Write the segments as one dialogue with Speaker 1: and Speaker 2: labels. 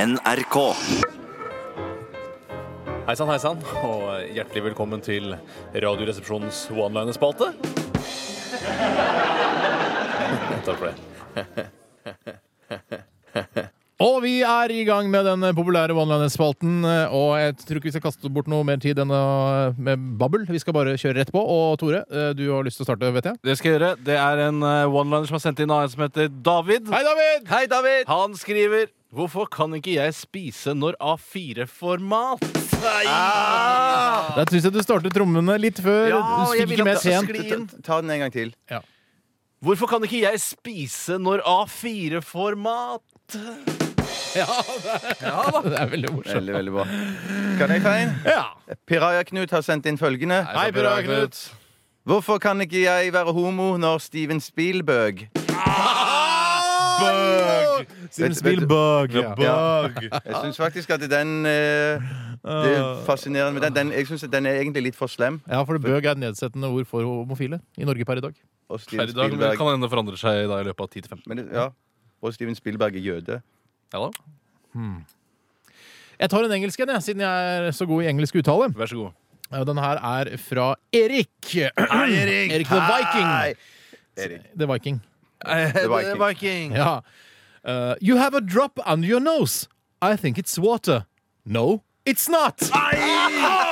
Speaker 1: NRK.
Speaker 2: Hei sann, hei sann, og hjertelig velkommen til Radioresepsjonens one-liner-spalte. Takk for det.
Speaker 3: Og vi er i gang med den populære one-liner-spalten. Og jeg tror ikke vi skal kaste bort noe mer tid enn å- med babbel. Vi skal bare kjøre rett på. Og Tore, eh, du har lyst til å starte, vet jeg.
Speaker 4: Det skal jeg gjøre. Det er en eh, one-liner som er sendt inn av en som heter David.
Speaker 3: Hei, David!
Speaker 4: Hei, David! Han skriver Hvorfor kan ikke jeg spise når A4-format? Ah!
Speaker 3: Da syns jeg du startet trommene litt før.
Speaker 4: Ja,
Speaker 3: du
Speaker 4: jeg
Speaker 3: fikk
Speaker 4: vil
Speaker 3: ikke med
Speaker 4: at det skal
Speaker 3: scenen.
Speaker 4: skli inn.
Speaker 1: Ta den en gang til.
Speaker 4: Hvorfor kan ikke jeg spise når A4-format?
Speaker 3: Det er veldig morsomt.
Speaker 1: Veldig, veldig bra. Kan jeg ta en?
Speaker 3: Ja.
Speaker 1: Piraja Knut har sendt inn følgende.
Speaker 3: Hei, Pura Knut.
Speaker 1: Hvorfor kan ikke jeg være homo når Steven Spielberg
Speaker 3: Bug!
Speaker 1: Vet- vet-
Speaker 3: Spielberg. Ja.
Speaker 1: Jeg syns faktisk at den eh, Det er fascinerende med den. den jeg syns at den er egentlig litt for slem.
Speaker 3: ja, for bøg er et nedsettende ord for homofile i Norge per i dag.
Speaker 1: Og Steven
Speaker 4: Per i dag men det
Speaker 1: Spielberg,
Speaker 4: kan hende det forandrer seg da i løpet av 10-15.
Speaker 1: men, det- ja. og Steven Spielberg er jøde.
Speaker 4: Ja da,
Speaker 3: Jeg tar en engelsk en, jeg, siden jeg er så god i engelsk uttale.
Speaker 4: vær så god.
Speaker 3: Eh, Den her er fra Erik. Hei, Erik! Erik the
Speaker 1: Hei!
Speaker 3: Viking.
Speaker 1: Erik.
Speaker 3: The Viking.
Speaker 4: The
Speaker 1: Viking.
Speaker 3: Ja. Uh, you have a drop under your nose. I think it's water. No, it's not.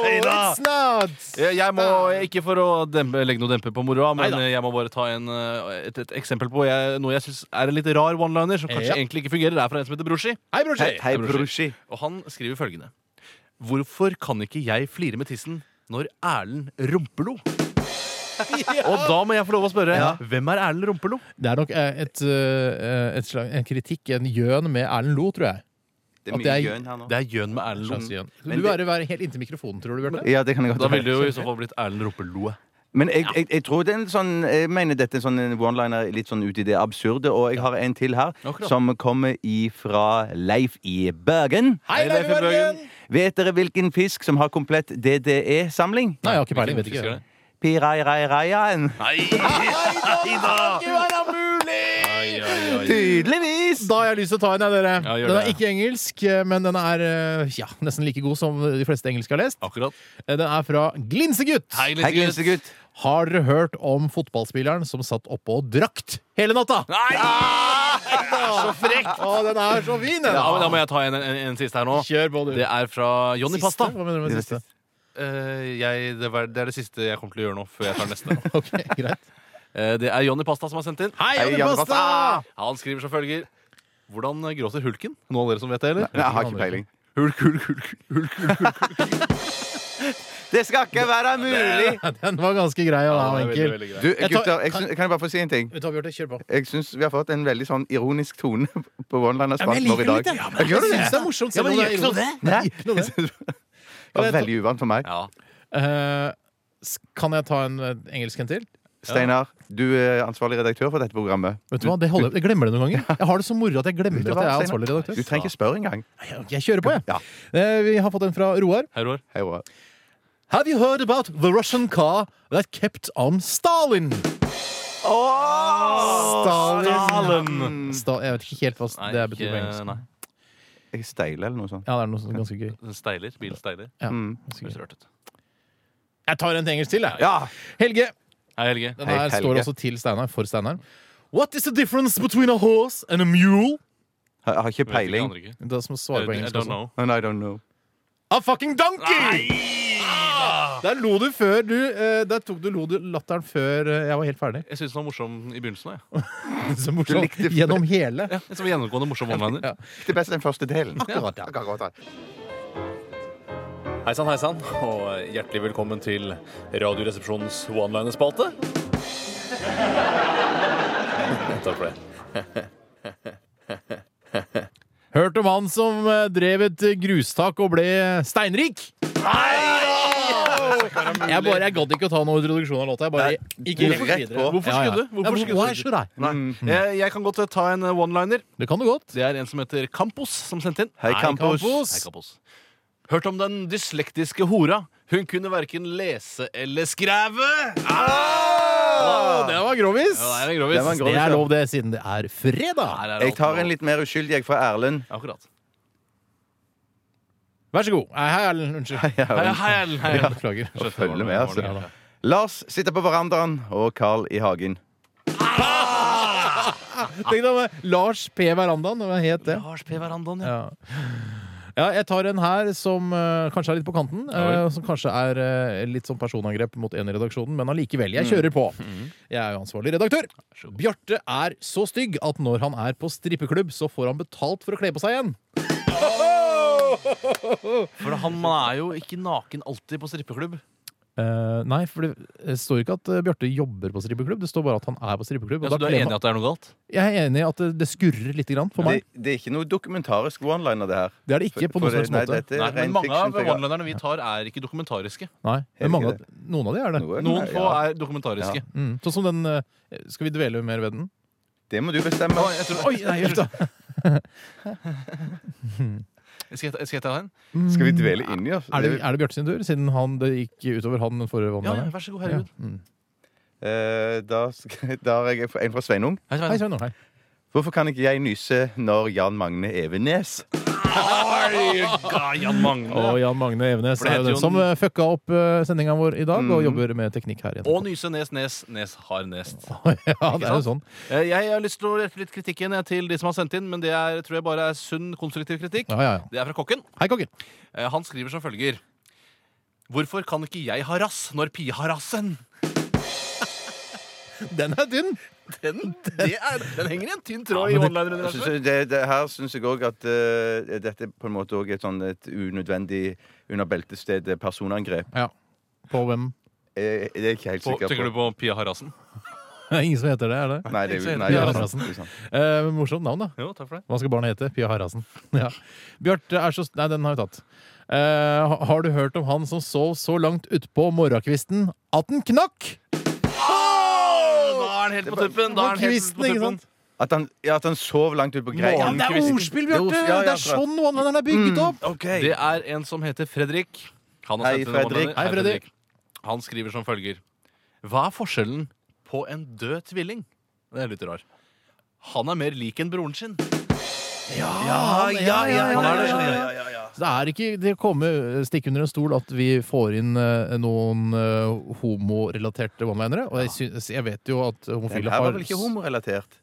Speaker 4: Neida.
Speaker 3: It's not.
Speaker 4: Jeg Eh, jeg må, ikke for å dempe, legge noe demper på moroa, men jeg må bare ta en, eh, et, et eksempel på jeg, noe jeg syns er en litt rar one-liner, som kanskje
Speaker 3: Ja.
Speaker 4: egentlig ikke fungerer. Det er fra en som heter Broshi.
Speaker 3: Hei, brorsi.
Speaker 1: Hei, hei Brushi.
Speaker 4: Og han skriver følgende. Hvorfor kan ikke jeg flire med tissen når Erlend rumpelo? Og da må jeg få lov å spørre. Hvem er Erlend rumpelo?
Speaker 3: Det er nok eh, et, eh, et slag, en kritikk, en gjøn med Erlend Lo, tror jeg.
Speaker 1: Det
Speaker 3: At
Speaker 1: er
Speaker 3: det
Speaker 1: mye
Speaker 3: er-
Speaker 1: gjøn her nå.
Speaker 4: Det er gjøn med Erlend
Speaker 3: Slags
Speaker 4: Lom.
Speaker 3: gjøn.
Speaker 1: Mm. Men
Speaker 3: Du
Speaker 1: det-
Speaker 3: bør være helt inntil mikrofonen, tror du, Bjarte.
Speaker 1: Ja, det kan jeg godt
Speaker 4: Da
Speaker 1: være.
Speaker 4: ville det jo i så fall blitt Erlend rumpelo.
Speaker 1: Men jeg, jeg, jeg tror det er en sånn Jeg mener dette er en sånn one-liner litt sånn ut i det absurde. Og jeg har en til her,
Speaker 4: Akkurat.
Speaker 1: som kommer ifra Leif i Bergen.
Speaker 3: Hei, Leif i Bergen!
Speaker 1: Vet dere hvilken fisk som har komplett DDE-samling?
Speaker 3: Nei, jeg har ikke peiling. Vet ikke.
Speaker 1: Pirairairaen.
Speaker 3: Det være mulig!
Speaker 1: Tydeligvis!
Speaker 3: Da har jeg lyst til å ta en, jeg, dere.
Speaker 4: Ja, gjør
Speaker 3: den er
Speaker 4: det.
Speaker 3: ikke engelsk, men den er eh, ja, nesten like god som de fleste engelske har lest.
Speaker 4: Akkurat.
Speaker 3: Eh, Den er fra Glinsegutt.
Speaker 4: Hei,
Speaker 1: Hei,
Speaker 4: lille gutt.
Speaker 1: glinsegutt.
Speaker 3: Har dere hørt om fotballspilleren som satt oppå og drakt hele natta?
Speaker 4: Nei!
Speaker 3: Så frekt! Å, den er så fin, den!
Speaker 4: Ja, men da må jeg ta en, en, en siste her nå.
Speaker 3: Kjør på, du.
Speaker 4: Det er fra Johnny
Speaker 3: Siste?
Speaker 4: Pasta.
Speaker 3: Hva mener du med siste?
Speaker 4: Eh, jeg, det, var, det er det siste jeg kommer til å gjøre nå, før jeg tar neste.
Speaker 3: Ok, greit.
Speaker 4: Eh, det er Johnny Pasta som har sendt inn.
Speaker 3: Hei,
Speaker 1: Hei,
Speaker 3: Johnny
Speaker 1: Johnny
Speaker 3: Pasta!
Speaker 1: Pasta!
Speaker 4: Han skriver som følger. Hvordan gråter hulken? Noen av dere som vet det, eller?
Speaker 1: Nei, jeg har ikke peiling.
Speaker 4: Hulk, hulk, hulk, hulk, hulk.
Speaker 1: Det skal ikke være mulig!
Speaker 3: Den var ganske grei og
Speaker 4: Ja, det er veldig,
Speaker 3: enkel.
Speaker 4: veldig greit.
Speaker 1: Du,
Speaker 3: Jeg tar-
Speaker 1: gutter, jeg syns, kan jeg bare få si en ting?
Speaker 3: Vet du hva, Bjarte, kjør på.
Speaker 1: Jeg syns vi har fått en veldig sånn ironisk tone på one-liners
Speaker 3: men jeg
Speaker 1: vår i
Speaker 3: liker det
Speaker 1: dag.
Speaker 3: litt, jeg.
Speaker 1: Jeg gjør
Speaker 3: Jeg
Speaker 1: det.
Speaker 3: syns det er morsomt.
Speaker 4: Ja, men
Speaker 3: selv om det
Speaker 4: gjør
Speaker 3: er
Speaker 4: ikke
Speaker 3: ironisk.
Speaker 1: Nei.
Speaker 3: Ikke noe det.
Speaker 1: Det var veldig uvant for meg.
Speaker 4: Ja.
Speaker 3: Eh, s- kan jeg ta en eh, engelsk en til?
Speaker 1: Steinar, du er ansvarlig redaktør for dette programmet.
Speaker 3: Vet du hva, det holder, Jeg glemmer det noen ganger. Jeg har det så moro at jeg glemmer at
Speaker 1: Du
Speaker 3: jeg er
Speaker 1: hva,
Speaker 3: ansvarlig
Speaker 1: Steinar?
Speaker 3: redaktør.
Speaker 1: Du trenger ikke spørre engang.
Speaker 3: Jeg kjører på, jeg.
Speaker 1: Ja.
Speaker 3: Eh, Vi har fått en fra Roar.
Speaker 4: Hei, Roar.
Speaker 1: Hei, Roar.
Speaker 3: Have you heard about the Russian car that kept on Stalin? Stalin. Sta- jeg vet ikke helt hva s-
Speaker 4: Nei,
Speaker 3: det betyr på
Speaker 4: ikke-
Speaker 3: engelsk.
Speaker 4: Nei.
Speaker 1: Jeg steiler eller noe sånt.
Speaker 3: Ja, det er noe sånn ganske gøy.
Speaker 4: Den steiler. Bilen steiler.
Speaker 3: Ja,
Speaker 1: Mm.
Speaker 3: ganske
Speaker 4: Høres
Speaker 3: gøy.
Speaker 4: rørt ut.
Speaker 3: Jeg tar en til engelsk til, jeg.
Speaker 1: Ja!
Speaker 3: Helge.
Speaker 4: Hei, Helge.
Speaker 3: Den
Speaker 1: Hei,
Speaker 3: her
Speaker 1: Helge.
Speaker 3: står også til Steinar, for Steinar. What is the difference between a horse and a mule?
Speaker 1: Jeg har
Speaker 4: Vet
Speaker 1: ikke
Speaker 4: ikke,
Speaker 1: peiling.
Speaker 4: aner ikke.
Speaker 3: Det som svarer på
Speaker 4: I- I
Speaker 3: engelsk
Speaker 4: don't
Speaker 3: også.
Speaker 4: know. Ah!
Speaker 1: And I don't know.
Speaker 3: A fucking donkey! Der lo du før du eh, Der tok du lo du latteren før eh, jeg var helt ferdig.
Speaker 4: Jeg syns den var morsom i begynnelsen. Jeg.
Speaker 3: Så morsomt. Gjennom hele.
Speaker 4: Ja, en sånn gjennomgående morsom one-liner.
Speaker 1: Det er best den første delen.
Speaker 3: Akkurat, ja.
Speaker 1: Akkurat, ja.
Speaker 2: Hei sann, hei sann, og hjertelig velkommen til Radioresepsjonens one-liner-spalte. Takk for det.
Speaker 3: Hørt om han som eh, drev et grustak og ble eh, steinrik? Jeg bare, jeg gadd ikke å ta noen introduksjon av låta. Jeg bare gikk
Speaker 1: du
Speaker 3: rett
Speaker 1: rett
Speaker 3: videre.
Speaker 1: på.
Speaker 4: Hvorfor skulle du? Hvorfor
Speaker 3: Ja,
Speaker 4: skulle
Speaker 3: why
Speaker 4: du?
Speaker 3: should I?
Speaker 1: Mm.
Speaker 4: Nei. Jeg, jeg kan godt eh, ta en eh, one-liner.
Speaker 3: Det kan du godt.
Speaker 4: Det er en som heter Campos, som sendte inn.
Speaker 1: Hei, Campos.
Speaker 4: Hei, Campos. Hørt om den dyslektiske hora. Hun kunne verken lese eller skræve!
Speaker 3: Å, det var grovis.
Speaker 4: Ja, det er en grovis.
Speaker 1: Det var
Speaker 3: Det
Speaker 1: en grovis, ja.
Speaker 3: er lov, det, siden det er fredag.
Speaker 4: Her er
Speaker 1: Jeg
Speaker 4: alt
Speaker 1: tar en
Speaker 4: lov.
Speaker 1: litt mer uskyldig jeg fra Erlend.
Speaker 4: Akkurat.
Speaker 3: Vær så god. Nei, Hei, Erlend. Unnskyld.
Speaker 1: Ja,
Speaker 4: Hei,
Speaker 1: vel.
Speaker 4: hei, Erlend, hei, Erlend.
Speaker 3: Beklager.
Speaker 1: Og følge med, altså. Lars sitter på verandaen, og Carl i hagen.
Speaker 3: Tenk deg om eh, Lars P. Verandaen. Hva het det?
Speaker 4: Lars P. Verandaen, ja.
Speaker 3: Ja. ja, jeg tar en her som eh, kanskje er litt på kanten. eh, som kanskje er eh, litt sånn personangrep mot en i redaksjonen, men allikevel. Jeg kjører på. Jeg er jo ansvarlig redaktør. Bjarte er så stygg at når han er på strippeklubb, så får han betalt for å kle på seg igjen.
Speaker 4: For han man er jo ikke naken alltid på strippeklubb.
Speaker 3: Eh, nei, for det står ikke at eh, Bjarte jobber på strippeklubb. Det står bare at han er på strippeklubb. og
Speaker 4: Ja, så
Speaker 3: da
Speaker 4: Altså, du er
Speaker 3: kler
Speaker 4: enig i
Speaker 3: man-
Speaker 4: at det er noe galt?
Speaker 3: Jeg er enig i at det, det skurrer litt grann for
Speaker 1: Det,
Speaker 3: meg.
Speaker 1: det er ikke noe dokumentarisk one-liner, det her.
Speaker 3: Det er det ikke på
Speaker 1: For-
Speaker 3: noen
Speaker 1: for
Speaker 3: som
Speaker 1: det-
Speaker 3: helst måte.
Speaker 1: nei, dette er
Speaker 4: Nei,
Speaker 1: ren
Speaker 4: men mange av
Speaker 1: fiction, så jeg-
Speaker 4: one-linerne vi tar, er ikke dokumentariske.
Speaker 3: Nei, men
Speaker 1: Helt
Speaker 3: mange,
Speaker 1: ikke
Speaker 3: av- noen av de er det.
Speaker 1: Noen,
Speaker 4: Noen få
Speaker 1: ja.
Speaker 4: er dokumentariske.
Speaker 3: Mm. Sånn som den eh, Skal vi dvele mer ved den?
Speaker 1: Det må du bestemme.
Speaker 4: Oi, jeg tror, oi, nei,
Speaker 3: Nei,
Speaker 4: unnskyld.
Speaker 3: da.
Speaker 4: Skal jeg ta- skal jeg ta den?
Speaker 1: Skal vi dvele inni oss?
Speaker 3: Er det, er det Bjarte sin tur, siden han, det gikk utover han den
Speaker 4: Ja,
Speaker 3: forrige
Speaker 4: ja,
Speaker 3: vannmannen?
Speaker 4: vær så god, herregud.
Speaker 1: Eh, da, skal- da har jeg en fra Sveinung.
Speaker 4: Hei,
Speaker 3: Hei,
Speaker 4: Svein.
Speaker 3: Svein Nordheim.
Speaker 1: Hvorfor kan ikke jeg nyse når Jan Magne Evenes
Speaker 4: Ga Jan Magne.
Speaker 3: Og Jan Magne Evenes
Speaker 4: For det
Speaker 3: er jo
Speaker 4: heter
Speaker 3: den
Speaker 4: jo Mm.
Speaker 3: som eh, fucka opp eh, sendinga vår i dag, og
Speaker 1: Mhm.
Speaker 3: jobber med teknikk her. igjen.
Speaker 4: Og Nyse Nes Nes Nes har nest.
Speaker 3: Ja, det er jo sånn.
Speaker 4: Eh, Jeg har lyst til å rette litt kritikk igjen jeg, til de som har sendt inn, men det er, tror jeg bare er sunn, konstruktiv kritikk.
Speaker 3: Ja, ja, ja.
Speaker 4: Det er fra kokken.
Speaker 3: Hei, kokken.
Speaker 4: Eh, Han skriver som følger. Hvorfor kan ikke jeg ha rass når Pia har rassen?
Speaker 3: Den er tynn!
Speaker 4: Den, det er, den henger i en tynn tråd
Speaker 3: Ja,
Speaker 4: i
Speaker 3: men det-
Speaker 1: Jeg synes
Speaker 4: online-universet.
Speaker 1: det, det, her syns jeg òg at eh, dette på en måte også er et sånn et unødvendig under beltestedet personangrep.
Speaker 3: Ja. På hvem?
Speaker 1: Eh, det er jeg ikke helt
Speaker 4: På-
Speaker 1: sikker
Speaker 4: Tenker du
Speaker 1: på.
Speaker 4: på Pia har rassen?
Speaker 3: Ingen som heter det, er det?
Speaker 1: Nei, det er
Speaker 4: Ikke
Speaker 1: jo
Speaker 4: så
Speaker 1: nei,
Speaker 4: helt-
Speaker 1: det er
Speaker 3: Pia
Speaker 1: sant,
Speaker 3: Rassen.
Speaker 1: det er sant.
Speaker 3: Eh, morsomt navn, da.
Speaker 4: Jo, takk for det.
Speaker 3: Hva skal barnet hete? Pia Haraldsen. Ja. Bjarte er så Nei, den har vi tatt. Eh, ha- har du hørt om han som sov så langt utpå morgenkvisten at den knakk?
Speaker 4: Da er han helt på tuppen! Da
Speaker 3: På
Speaker 4: er han helt
Speaker 3: kvisten,
Speaker 4: på
Speaker 3: ikke
Speaker 4: tuppen.
Speaker 3: sant?
Speaker 1: At han, ja, at han sov langt ut på greia.
Speaker 4: Morgen.
Speaker 3: Det er ordspill, Bjarte!
Speaker 1: Ja, ja,
Speaker 3: Det er
Speaker 1: akkurat.
Speaker 3: sånn one-lineren er
Speaker 4: Mm.
Speaker 3: bygget opp!
Speaker 1: OK.
Speaker 4: Det er en som heter Fredrik. Han har
Speaker 1: Hei,
Speaker 4: sendt inn en
Speaker 1: Fredrik.
Speaker 4: one-liner.
Speaker 3: Hei, Fredrik.
Speaker 4: Han skriver som følger. Hva er forskjellen på en død tvilling? Det er litt rar. Han er mer lik enn broren sin.
Speaker 1: Ja, ja, ja, ja,
Speaker 4: ja,
Speaker 1: ja,
Speaker 4: ja,
Speaker 1: ja, ja, ja.
Speaker 3: Så Det er ikke det kommer stikk under en stol at vi får inn eh, noen eh, homorelaterte one-linere. Og jeg, syns- jeg vet jo at
Speaker 1: Den
Speaker 3: homofile
Speaker 1: her
Speaker 3: har
Speaker 1: var vel ikke homorelatert?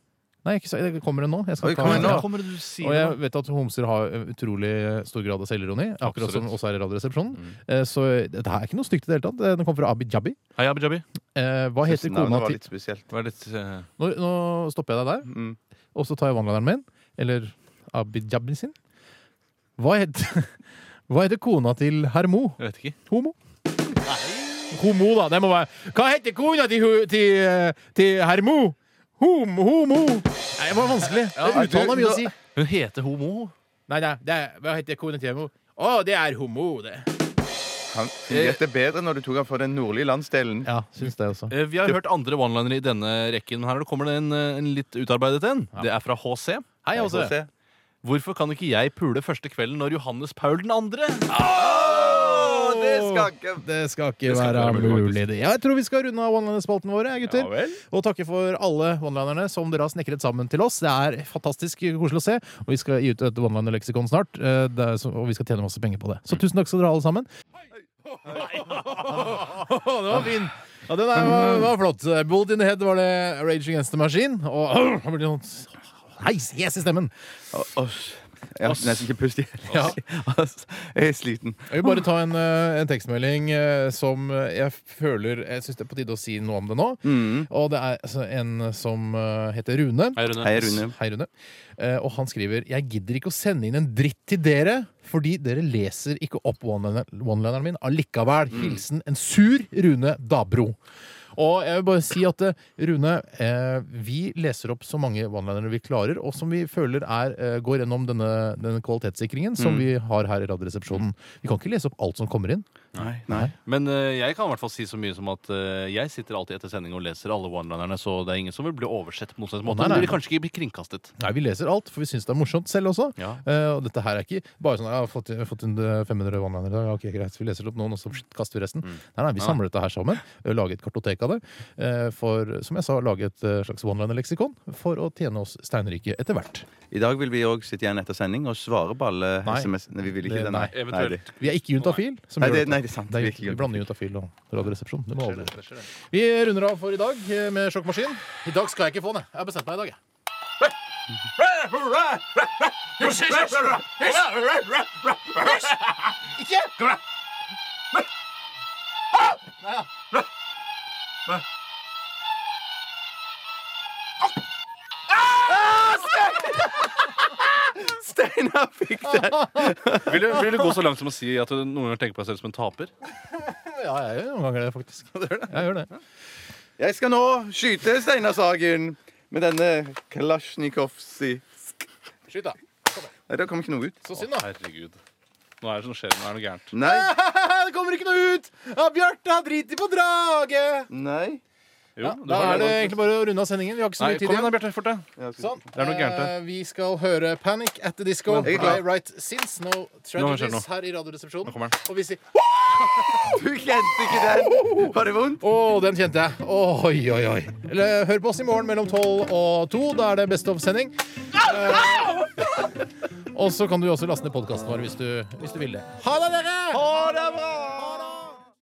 Speaker 3: Nei, ikke, så- det kommer en nå. Jeg skal
Speaker 1: Oi,
Speaker 3: ta-
Speaker 1: kommer en nå?
Speaker 4: Hva kommer det du sier
Speaker 3: Og
Speaker 4: nå?
Speaker 3: jeg vet at homser har eh, utrolig stor grad av selvironi, akkurat som
Speaker 4: Absolutt.
Speaker 3: oss her i Radioresepsjonen.
Speaker 1: Mm.
Speaker 3: Eh, Så dette her er ikke noe stygt i det hele tatt. Eh, Den kommer fra Abi Jabi.
Speaker 4: Hei, Abid Jabi.
Speaker 3: Eh, Hva heter kona
Speaker 1: Navnet var
Speaker 3: til
Speaker 1: litt spesielt.
Speaker 4: Vær litt eh,
Speaker 3: nå, nå stopper jeg deg der,
Speaker 1: Mm.
Speaker 3: og så tar jeg one-lineren min. Eller Abi Jabi sin. Hva heter, hva heter kona til Hermo?
Speaker 4: Jeg vet ikke.
Speaker 3: Homo? Homo, da. Det må være Hva heter kona til, hu- til, eh, til Hermo? Homo, homo. Nei, det var vanskelig.
Speaker 1: nei, du-
Speaker 3: Uttalen har mye
Speaker 1: nå-
Speaker 3: å si.
Speaker 4: Hun heter homo.
Speaker 3: Nei, nei, det er, hva heter kona til Hermo? Å, det er homo, det.
Speaker 1: Han gjette bedre når du tok han fra den nordlige landsdelen.
Speaker 3: Ja, syns det også.
Speaker 4: Eh, Vi har hørt andre one-linere i denne rekken, men her kommer det en, eh, en litt utarbeidet en. Det er fra HC.
Speaker 3: Hei,
Speaker 1: Vi får
Speaker 3: Åse.
Speaker 1: se.
Speaker 4: Hvorfor kan ikke jeg pule første kvelden når Johannes Paul den andre?
Speaker 1: Å, det skal ikke
Speaker 3: Det skal ikke
Speaker 4: skal
Speaker 3: være
Speaker 4: ikke være mulig,
Speaker 3: mulig. det. Jeg tror vi skal runde av one-liner-spalten våre, gutter.
Speaker 1: vel.
Speaker 3: og takke for alle one-linerne som dere har snekret sammen til oss. Det er fantastisk koselig å se, og vi skal gi ut et one-liner-leksikon snart. eh, Det er, så- og vi skal tjene masse penger på det. Så tusen takk skal dere ha, alle sammen. Det var fin! Ja, den er, var, var flott. Bolt in the head var det Rage Against the Machine. Og det blir noe heis, hes i stemmen.
Speaker 1: Å, Oss. Jeg har nesten ikke pust i
Speaker 3: Ja.
Speaker 1: Oss. Jeg er sliten.
Speaker 3: Jeg vil bare ta en, eh, en tekstmelding eh, som jeg føler Jeg syns det er på tide å si noe om det nå. Og det er altså, en som eh, heter Rune.
Speaker 4: Hei, Rune.
Speaker 1: Hei, Rune.
Speaker 3: Hei, Rune. Eh, og han skriver Jeg gidder ikke å sende inn en dritt til dere, fordi dere leser ikke opp one-liner- one-lineren min allikevel. Hilsen en sur Rune Dabro. Og jeg vil bare si at eh, Rune, eh, vi leser opp så mange one-linere vi klarer, og som vi føler er, eh, går gjennom denne, denne kvalitetssikringen som vi har her i Radioresepsjonen. Vi kan ikke lese opp alt som kommer inn.
Speaker 1: Nei, nei.
Speaker 4: Men eh, jeg kan i hvert fall si så mye som at eh, jeg sitter alltid etter sending og leser alle one-linerne, så det er ingen som vil bli oversett på noen slags måte.
Speaker 3: Nei,
Speaker 4: Men
Speaker 3: nei,
Speaker 4: de
Speaker 3: nei.
Speaker 4: vil kanskje ikke bli kringkastet.
Speaker 3: Nei, vi leser alt, for vi syns det er morsomt selv også.
Speaker 4: Ja.
Speaker 3: Eh, og dette her er ikke bare sånn jeg har fått, jeg har fått en, eh, 500 vannlaner i dag, ja, ok, greit, vi leser det opp noen, og så pst, kaster vi resten.
Speaker 1: Mm.
Speaker 3: Nei, nei, vi samler dette her sammen, eh, lager et kartotek av det, eh, for som jeg sa, lage et eh, slags one-liner-leksikon for å tjene oss steinrike etter hvert.
Speaker 1: I dag vil vi òg sitte igjen etter sending og svare på alle
Speaker 3: Nei.
Speaker 1: SMS. Nei, vi vil ikke
Speaker 3: Det-
Speaker 1: det, nei.
Speaker 2: nei.
Speaker 1: Nei, det-
Speaker 3: Vi er ikke juntafil. Som
Speaker 1: Nei,
Speaker 3: gjør
Speaker 1: det-
Speaker 3: dette.
Speaker 1: nei, det er sant,
Speaker 3: Det
Speaker 1: vi er
Speaker 3: er,
Speaker 1: ikke
Speaker 3: vi blander juntafil og radioresepsjon. Det må aldri
Speaker 2: Det skjer, det.
Speaker 3: Vi runder av for i dag eh, med sjokkmaskin. I dag skal jeg ikke få den. jeg. Jeg har bestemt meg i dag. jeg. Ikke! Nei, ja.
Speaker 1: Steinar fikk det!
Speaker 4: Vil du, vil du gå så langt som å si at du noen ganger tenker på deg selv som en taper?
Speaker 3: Ja, jeg gjør noen ganger det, faktisk. Jeg gjør det.
Speaker 1: Jeg skal nå skyte Steinar Sagen med denne Klasjnikovsi.
Speaker 3: Skyt, da.
Speaker 1: Nei, det kom ikke noe ut.
Speaker 3: Så synd, da.
Speaker 4: Herregud. Nå er det som skjer. Nå er det noe gærent.
Speaker 1: Nei.
Speaker 3: Det kommer ikke noe ut! Ja, Bjarte har driti på draget!
Speaker 1: Nei.
Speaker 4: Jo, du
Speaker 3: Da
Speaker 4: har
Speaker 3: er det egentlig bare å runde av sendingen. Vi har ikke så
Speaker 4: Nei,
Speaker 3: mye tid
Speaker 4: kom igjen da,
Speaker 3: igjen.
Speaker 4: Bjarte. Fort deg.
Speaker 1: Ja, skal-
Speaker 3: Sånn.
Speaker 4: Det er noe gærent her.
Speaker 3: Eh, Vi skal høre Panic at the Disco
Speaker 1: Jeg er
Speaker 3: by
Speaker 1: klar.
Speaker 3: Right Since No
Speaker 4: Nå skjer det
Speaker 3: Tragedies
Speaker 4: noe.
Speaker 3: her i Radioresepsjonen.
Speaker 4: Nå kommer
Speaker 3: Og vi sier
Speaker 1: Du kjente ikke den? Var det vondt?
Speaker 3: Å, den kjente jeg. Oi, oi, oi. Eller, Hør på oss i morgen mellom 12 og 2. Da er det Best of-sending. Eh, og så kan du også laste ned podkasten vår hvis du, hvis du vil det. Ha det, dere!